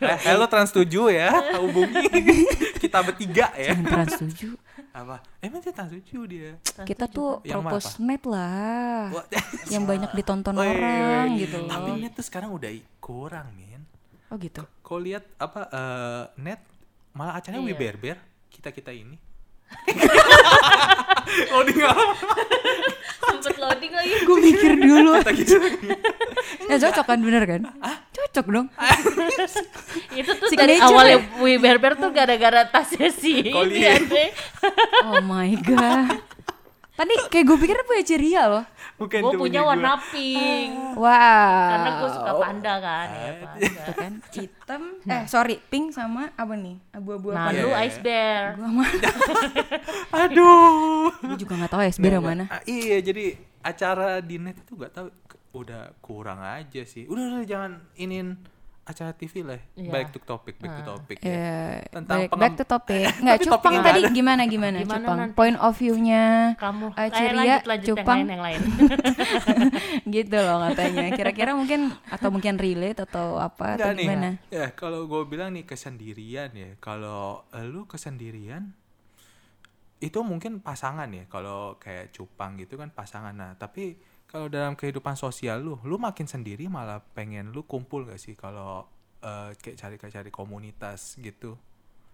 A: Eh, Hello Trans 7 ya, hubungi kita bertiga ya.
B: Jangan trans tujuh.
A: Apa? Emang dia Trans 7 dia.
B: Kita tuh
A: Yang mana,
B: propose net lah.
A: Wah, Oh, iya,
B: Yang banyak ditonton
A: weh,
B: orang gitu loh.
A: Tapi net tuh sekarang udah i- kurang, men.
B: Oh gitu.
A: Kau lihat apa eh, net malah acaranya
C: Iya.
A: wiberber kita-kita ini. oh, dia
C: sempet loading lagi
B: Gue mikir dulu.
A: kita-kita.
B: Ya cocok kan bener kan? Cocok dong.
C: itu tuh
B: Si ya?
C: dari
B: Nature
C: awalnya Wi Berber tuh gara-gara tasnya si
A: Collier.
C: ini kan. Andre
B: Oh my god. Tadi kayak gue pikir punya ceria loh.
A: Bukan
C: gue
A: itu
C: punya
A: gua.
C: warna pink
B: Wow.
C: karena gue suka panda kan ya
A: Ah,
C: panda.
A: gitu
B: Tuh kan hitam. Eh sorry, pink sama apa nih? Abu-abu
C: nah
B: apa?
A: Iya,
C: lu
A: iya.
C: ice bear
B: Gue sama.
A: Aduh.
B: Gue juga nggak tahu ya sebenarnya
A: Nggak,
B: mana.
A: nggak. Ah, iya, jadi acara di net itu nggak tahu ke- udah kurang aja sih. Udah, udah jangan inin acara TV lah. ya.
C: Iya.
A: Back to topic, back to topic ya.
B: Eh,
A: Tentang
B: balik-
A: pengem-
B: back to topic. Nggak,
A: Tapi
B: cupang
A: topiknya
B: tadi
A: nggak
B: gimana gimana,
C: Gimana
B: cupang.
C: nanti?
B: Point of view-nya
C: kamu
B: eh,
C: eh,
B: ceria,
C: lanjut lanjut
B: cupang
C: yang lain yang lain
B: gitu loh katanya. Kira-kira mungkin atau mungkin relate atau apa
A: Nggak
B: atau gimana?
A: nih. Ya, kalau gue bilang nih kesendirian ya. Kalau eh, lu kesendirian itu mungkin pasangan ya. Kalau kayak cupang gitu kan pasangan. Nah, tapi kalau dalam kehidupan sosial lu, lu makin sendiri malah pengen lu kumpul gak sih kalau eh, kayak cari kayak cari komunitas gitu.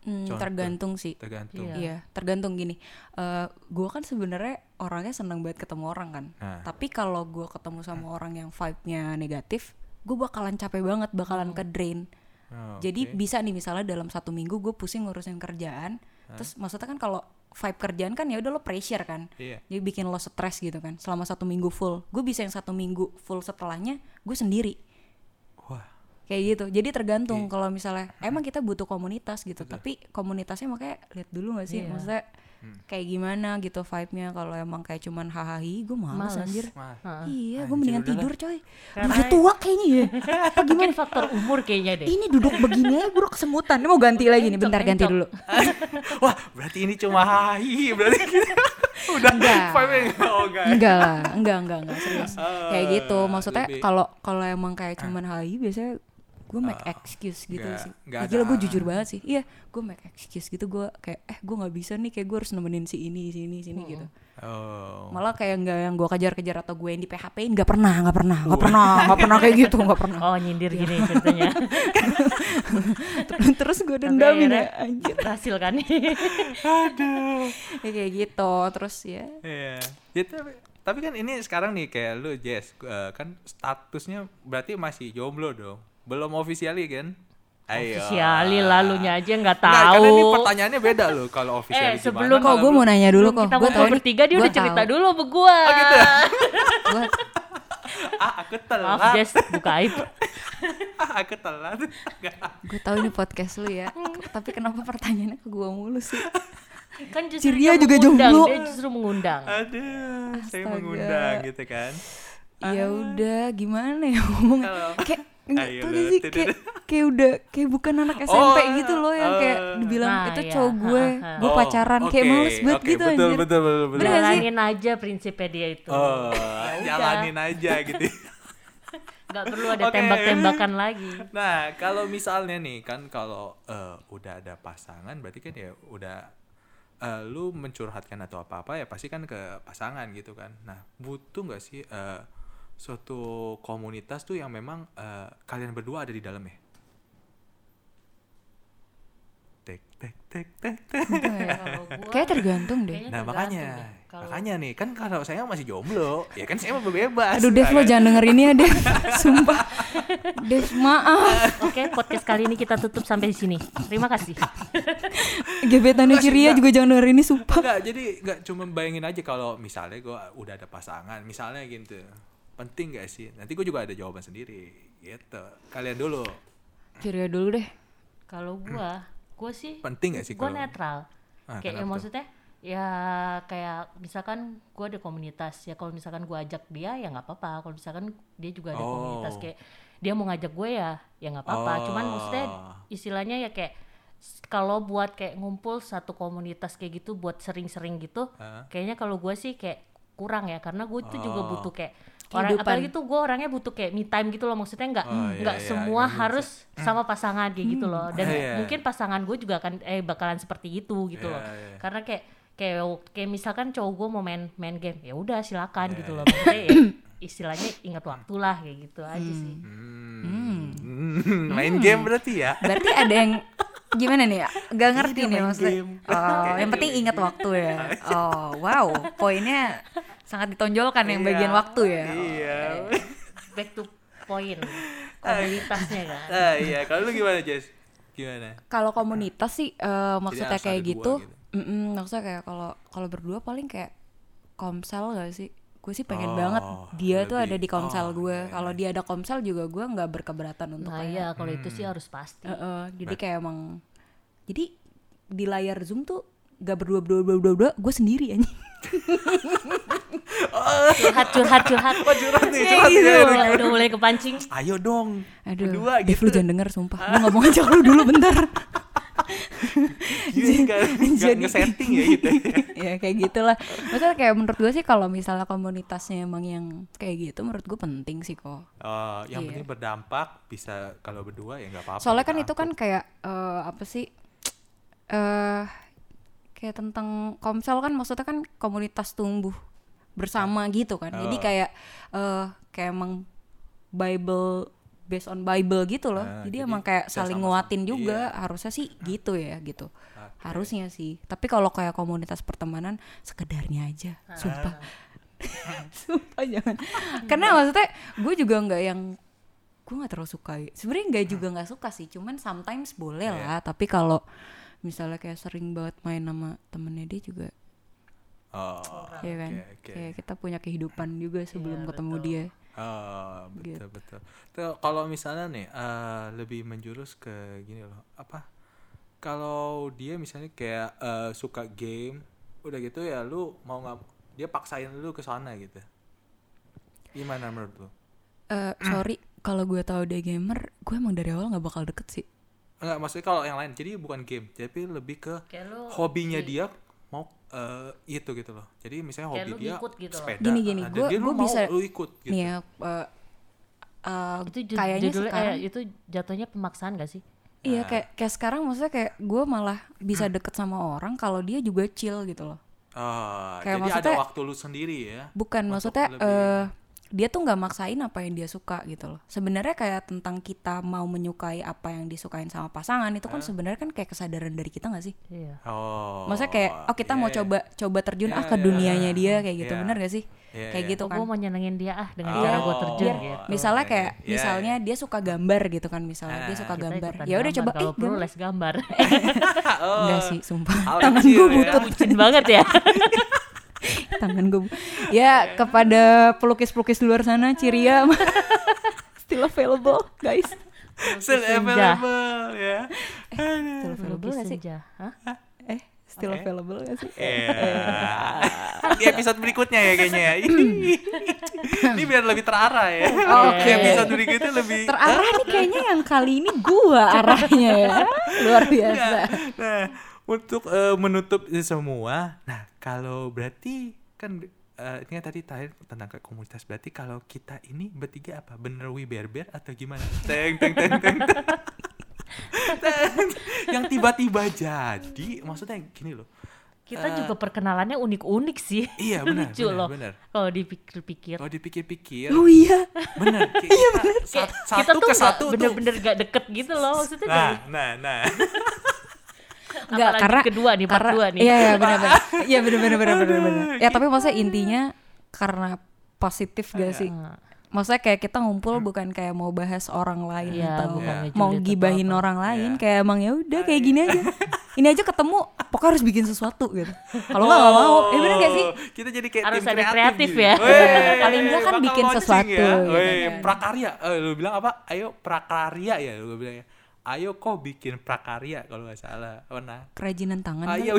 B: Hmm,
A: Contoh.
B: tergantung sih.
A: Tergantung.
C: Iya.
B: Iya, tergantung gini. Eh gue kan sebenarnya orangnya seneng banget ketemu orang kan.
A: Nah.
B: Tapi kalau gue ketemu sama orang yang vibe-nya negatif, gue bakalan capek banget,
C: Hmm.
B: bakalan ke drain.
A: Oh,
B: Jadi
A: oke.
B: bisa nih misalnya dalam satu minggu gue pusing ngurusin kerjaan. Terus maksudnya kan kalau vibe kerjaan kan ya udah lo pressure kan.
A: Iya.
B: Jadi bikin lo stres gitu kan. Selama satu minggu full, gue bisa yang satu minggu full setelahnya gue sendiri
A: Wah,
B: kayak gitu jadi tergantung
A: Iya.
B: kalau misalnya emang kita butuh komunitas gitu tapi komunitasnya makanya lihat dulu gak sih
C: Iya.
B: maksudnya
A: Hmm.
B: kayak gimana gitu vibe-nya kalau emang kayak cuman hahahi gue males,
C: Males.
B: anjir
A: mah. Ah,
B: iya gue
A: Anjir,
B: mendingan
A: udahlah.
B: tidur coy
C: Karena-
B: udah tua kayaknya ya apa
C: mungkin
B: gimana Iya.
C: faktor umur kayaknya deh
B: ini duduk begini aja gue udah kesemutan ini mau ganti lagi nih bentar ganti
C: encok.
B: dulu
A: Wah, berarti ini cuma hai, berarti kita udah
B: Enggak. Iya.
A: vibe-nya nggak- oh, enggak.
B: enggak lah enggak enggak enggak serius kayak gitu
A: Ah,
B: maksudnya
A: lebih- Eh.
B: kalau kalau emang kayak cuman hahahi biasanya gue make excuse gitu
A: enggak-
B: sih
A: enggak
B: Ya, gila
A: ada-
B: gue jujur banget sih iya gue make excuse gitu gue kayak eh gue nggak bisa nih kayak gue harus nemenin si ini si ini si ini gitu
A: Oh.
B: malah kayak nggak yang gue kejar-kejar atau gue yang di PHP nggak pernah nggak pernah
A: Oh.
B: nggak pernah nggak pernah kayak gitu nggak pernah
C: Oh nyindir gini ceritanya.
B: terus gue
C: Tapi
B: dendamin
C: akhirnya
B: ya anjir Iya.
C: Berhasil kan
A: Aduh.
B: Ya kayak gitu terus ya
A: Iya. Ya, tapi, tapi kan ini sekarang nih kayak lu Jess eh, kan statusnya berarti masih jomblo dong. Belum officially kan? Ayo.
C: Officially lalunya aja nggak
A: Nggak, karena ini
C: tahu.
A: pertanyaannya beda loh kalau officially
C: Eh, sebelum
B: kok gue mau nanya Iya dulu
C: Belum
B: kok
C: kita
B: gue
C: ngobrol bertiga dia udah cerita dulu sama gua.
A: Oh gitu ya?
B: gue
A: ah, aku
C: Maaf
A: telat.
C: Jess, buka aib.
A: Ah, aku telat. Nggak.
B: gue tahu ini podcast lu ya tapi kenapa pertanyaannya ke gue mulu sih
C: Kan justru
B: Ciria
C: dia
B: juga
C: mengundang,
B: jomblo.
C: Dia justru mengundang.
A: Aduh, saya
B: Astaga.
A: mengundang gitu kan.
B: ya udah gimana ya ngomong kayak nggak
A: Ayo,
B: tahu
A: udah,
B: deh sih
A: udah,
B: kayak
A: udah.
B: kayak udah kayak bukan anak SMP
A: Oh,
B: gitu loh yang kayak
A: eh.
B: dibilang
C: Nah,
B: itu
C: iya,
B: cowok gue
C: ha, ha, ha.
B: gue
A: Oh,
B: pacaran kayak
A: oke,
B: males banget
A: oke,
B: gitu
A: betul,
B: anjir
A: betul, betul, betul.
B: Bener Ya nggak sih?
C: Jalanin aja prinsipnya dia itu.
A: Oh,
C: udah.
A: jalanin aja gitu.
C: Gak perlu ada
A: Oke.
C: tembak-tembakan lagi.
A: Nah, kalau misalnya nih kan kalau eh, udah ada pasangan berarti kan ya udah eh, lu mencurhatkan atau apa-apa ya pasti kan ke pasangan gitu kan. Nah, butuh nggak sih eh, suatu komunitas tuh yang memang eh, kalian berdua ada di dalam ya? Tek tek tek tek tek.
B: Oh, iya.
C: Kalau gua-
B: kayak tergantung deh
C: Kayaknya
A: Nah,
C: tergantung
A: makanya
C: deh. Kalau-
A: makanya nih kan kalau saya masih jomblo, ya kan saya mau bebas.
B: aduh
A: Nah,
B: Dev lo
A: kan?
B: jangan denger ini ya Dev sumpah Dev maaf
C: Oke, podcast kali ini kita tutup sampai di sini. Terima kasih.
B: gebetannya
A: Enggak sih,
B: Ciria
A: enggak.
B: juga jangan denger ini sumpah
A: Enggak, jadi enggak cuma bayangin aja kalau misalnya gue udah ada pasangan, misalnya gitu. Penting gak sih? Nanti gue juga ada jawaban sendiri. Gitu. Kalian dulu.
B: Ciria dulu deh
C: Kalau gua, gua sih
A: Hmm. Penting gak sih
C: gue
A: kalau-
C: netral
A: Ah, kenapa
C: kayak ya
A: tuh?
C: maksudnya ya kayak misalkan gue ada komunitas ya kalau misalkan gue ajak dia ya nggak apa-apa kalau misalkan dia juga ada
A: Oh.
C: komunitas kayak dia mau ngajak gue ya ya nggak apa-apa cuman maksudnya
A: Oh.
C: istilahnya ya kayak s- kalau buat kayak ngumpul satu komunitas kayak gitu buat sering-sering gitu
A: Hah?
C: kayaknya kalau gue sih kayak kurang ya karena gue itu juga
A: Oh.
C: butuh kayak orang
B: Kehidupan.
C: apalagi tuh gue orangnya butuh kayak me time gitu loh maksudnya nggak
A: Oh, iya,
C: nggak
A: iya,
C: semua
A: nggak bisa.
C: harus sama pasangan kayak gitu loh dan
A: Iya.
C: mungkin pasangan gue juga akan eh bakalan seperti itu gitu
A: Iya,
C: loh
A: iya.
C: karena kayak kayak kayak misalkan cowok gue mau main main game ya udah silakan
A: Iya,
C: gitu
A: iya.
C: loh Maksudnya ya, istilahnya ingat waktu lah kayak gitu aja sih
A: Hmm. Main game berarti ya.
B: berarti ada yang gimana nih ya gak ngerti
A: Iya,
B: nih
A: main
B: maksudnya
A: game. gitu.
B: oh, yang penting ingat waktu ya oh wow poinnya sangat ditonjolkan yang bagian
A: Iya.
B: waktu ya
A: Iya.
C: back to point komunitasnya kan
A: Ah, iya, kalau lu gimana, Jess? Gimana?
B: kalau komunitas sih eh, maksudnya
A: harus ada
B: kayak
A: dua
B: gitu,
A: gitu.
B: Mm-mm, maksudnya kayak kalau kalau berdua paling kayak komsel gak sih gue sih pengen
A: Oh,
B: banget dia tuh
A: lebih-
B: ada di komsel
A: oh,
B: gue
A: iya, iya.
B: kalau dia ada komsel juga gue nggak berkeberatan untuk
C: nah
B: kayak gitu.
C: ya kalau itu sih harus pasti
B: Heeh,
A: Nah.
B: jadi kayak emang jadi di layar zoom tuh gak berdua berdua berdua berdua, berdua gue sendiri aja
C: curhat curhat curhat
A: Oh, curhat nih, curhat
C: Kayak
A: nih,
C: gitu.
A: curhat nih,
C: Udah-
A: curhat.
C: udah mulai kepancing
A: Ayo dong.
B: aduh
A: Berdua
B: Dev,
A: gitu.
B: lu jangan denger sumpah gue nggak mau ngajak lu dulu bentar
A: Jadi enggak
B: jadi-
A: ngesetting ya gitu.
B: ya kayak gitulah maksudnya kayak menurut gue sih kalau misalnya komunitasnya emang yang kayak gitu menurut gue penting sih kok
A: Oh, yang
B: Iya.
A: penting berdampak bisa kalau berdua ya nggak apa-apa.
B: soalnya kan
A: nggak
B: itu kan kayak eh, apa sih eh kayak tentang komsel kan maksudnya kan komunitas tumbuh bersama gitu kan jadi
A: Oh.
B: kayak eh kayak emang bible based on bible gitu loh
A: Ah,
B: jadi,
A: jadi
B: emang kayak
A: bisa
B: saling
A: sama-sama.
B: nguatin juga
A: Iya.
B: harusnya sih gitu ya gitu
A: Oke.
B: harusnya sih tapi kalau kayak komunitas pertemanan sekedarnya aja
A: Ah.
B: sumpah sumpah jangan karena maksudnya gue juga nggak yang gue nggak terlalu suka sebenarnya nggak juga nggak suka sih cuman sometimes boleh
A: Iya.
B: lah tapi kalau misalnya kayak sering banget main sama temennya dia juga
A: Oh,
B: ya kan
A: oke, Iya, oke.
B: kayak kita punya kehidupan juga sebelum ketemu dia
A: Oh,
B: Gitu.
A: betul betul. Tuh, kalau misalnya nih eh, lebih menjurus ke gini loh, apa? Kalau dia misalnya kayak eh, suka game, udah gitu ya lu mau nggak dia paksain lu ke sana gitu. Gimana menurut lu?
B: Eh sorry kalau gue tahu dia gamer gue emang dari awal nggak bakal deket sih
A: Enggak, maksudnya kalau yang lain jadi bukan game, tapi lebih ke
C: Kayak lu-
A: hobinya dia mau eh, itu gitu loh. Jadi misalnya
C: Kayak
A: hobi
C: lu
A: dia
C: ngikut gitu loh.
A: sepeda.
B: Gini, gini,
A: nah,
B: gua-
A: jadi lu
B: gua
A: mau
B: bisa-
A: lu ikut gitu.
B: nih ya eh, eh,
C: itu ju-
B: kayaknya
C: judulnya- eh,
B: sekarang
C: itu jatuhnya pemaksaan gak sih
A: Nah. Hmm.
B: Iya kayak kayak sekarang maksudnya kayak gue malah bisa deket sama orang kalau dia juga chill gitu loh.
A: Ah,
B: Kayak
A: jadi ada
B: maksudnya-
A: waktu lu sendiri ya.
B: Bukan
A: Untuk
B: maksudnya
A: lebih-
B: eh, dia tuh nggak maksain apa yang dia suka gitu loh. Sebenarnya kayak tentang kita mau menyukai apa yang disukain sama pasangan itu kan sebenarnya kan kayak kesadaran dari kita nggak sih?
C: Iya.
A: Oh.
B: Maksudnya kayak oh kita mau
A: iya,
B: coba coba terjun
A: Iya,
B: ah ke
A: iya.
B: dunianya dia kayak gitu.
A: Iya.
B: Bener gak sih?
A: Iya,
B: kayak
A: iya.
B: gitu kan.
C: gue mau nyenengin dia ah dengan
A: Oh.
C: cara gue terjun
A: Biar-
C: gitu.
B: Misalnya
A: Oke.
B: kayak
A: Iya,
B: misalnya dia suka gambar gitu kan misalnya dia
A: Ah,
B: suka
C: Kita
B: gambar.
C: ikutan
B: Ya udah coba
C: gambar, kalau
B: eh
C: perlu
B: gambar.
C: les gambar. Eh,
A: iya. Oh.
B: Enggak sih, sumpah.
A: Hal
B: Tangan
A: kecil
B: gue
A: ya.
B: butut.
C: Bucin banget ya.
B: tangan gue
C: Iya.
B: ya kepada pelukis-pelukis di luar sana Ciria still available guys
A: Still
C: Senja.
A: available ya.
B: still available
C: Melukis
B: gak sih
C: senja. Hah?
B: eh still available gak sih
A: Eh. Yeah. Iya. Di episode berikutnya ya kayaknya ya. Ini biar lebih terarah ya.
B: Oke.
A: Di episode berikutnya lebih
B: terarah nih kayaknya yang kali ini gua arahnya ya luar biasa
A: Nah, nah, untuk eh, menutup semua. Nah, kalau berarti kan eh, ini kan tadi terakhir tentang ke komunitas berarti kalau kita ini bertiga apa? Bener we berber atau gimana? Teng teng teng teng. teng. Teng. yang tiba-tiba jadi maksudnya gini loh.
C: Kita
A: Eh,
C: juga perkenalannya unik-unik sih.
A: Iya benar
C: Lucu
A: benar
C: loh.
A: benar.
C: Kalau dipikir-pikir.
A: Kalau dipikir-pikir
B: oh iya
A: benar kayak kita sa- satu
C: kita tuh
A: ke
C: nggak-
A: satu tuh.
C: bener-bener gak deket gitu loh maksudnya
A: Nah,
C: dari-
A: nah, nah.
B: Enggak,
C: Apalagi
B: karena
C: kedua nih, part
B: karena-
C: dua nih.
B: Iya, iya benar benar. Iya benar benar benar benar benar. Ya tapi maksudnya intinya karena positif gak
C: Iya.
B: sih?
A: Ah.
B: Maksudnya kayak kita ngumpul bukan kayak mau bahas orang lain
C: Iya,
B: atau
C: bukan
B: mau
C: ngejudit atau
B: gibahin
C: apa.
B: orang lain,
A: Iya.
B: kayak emang ya udah kayak gini aja. Ini aja ketemu, pokoknya harus bikin sesuatu gitu. Kalau nggak nggak mau, ya bener gak sih?
A: Oh, Kita jadi kayak
C: Harus
A: tim
C: ada kreatif
A: gitu.
C: ya. Iya.
A: Wey,
B: Paling nggak kan
A: bakal
B: bikin
A: launching
B: sesuatu,
A: Ya.
B: gitu
A: Wey,
B: kan.
A: prakarya. Eh, lu bilang apa? Ayo prakarya ya lu bilang ya. Ayo kok bikin prakarya kalau nggak salah. Oh, nah.
B: Kerajinan tangan. kan?
A: Ayo.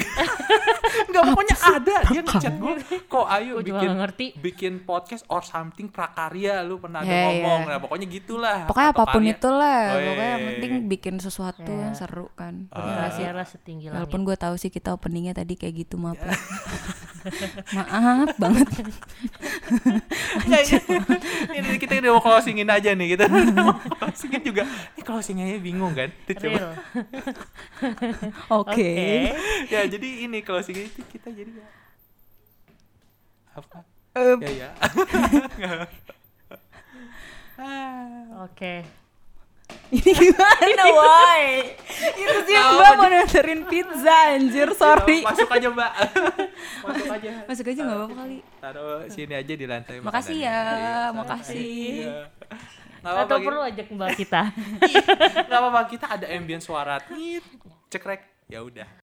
A: Enggak pokoknya ada dia ngechat gue kok ayo
C: Gua juga
A: bikin
C: nggak ngerti.
A: bikin podcast or something prakarya lu pernah ada
B: Ya,
A: ngomong.
B: ya.
A: Nah, pokoknya gitulah.
B: Pokoknya
A: Atau
B: apapun
A: karya.
B: itulah,
A: Wey.
B: pokoknya yang penting bikin sesuatu
C: Iya.
B: yang seru kan.
A: Ah.
B: Bener
C: Nah,
B: gak sih?
C: Era setinggi langit.
B: Walaupun gue tahu sih kita openingnya tadi kayak gitu maaf ya. maaf banget.
A: Enggak, iya. ini, ini kita udah mau closingin aja nih kita mau closingin juga ini closingannya bingung kan Kita coba.
C: Real.
B: Oke.
A: ya jadi ini closing itu kita jadi ya apa
B: Eh,
A: ya ya Ah.
C: Oke.
B: ini gimana, woi? Itu sih
A: Tahu
B: Mbak
A: aja.
B: mau nganterin pizza anjir, sorry.
A: Ya, masuk aja mbak masuk aja
B: Masuk aja nggak apa-apa kali.
A: taruh sini aja di lantai
B: Makasih ya,
A: makanannya. Iya.
B: makasih.
A: Iya. Nggak apa-apa gitu.
C: Atau
A: kita-
C: perlu ajak mbak kita.
A: nggak apa-apa kita ada ambient suara tit cekrek ya udah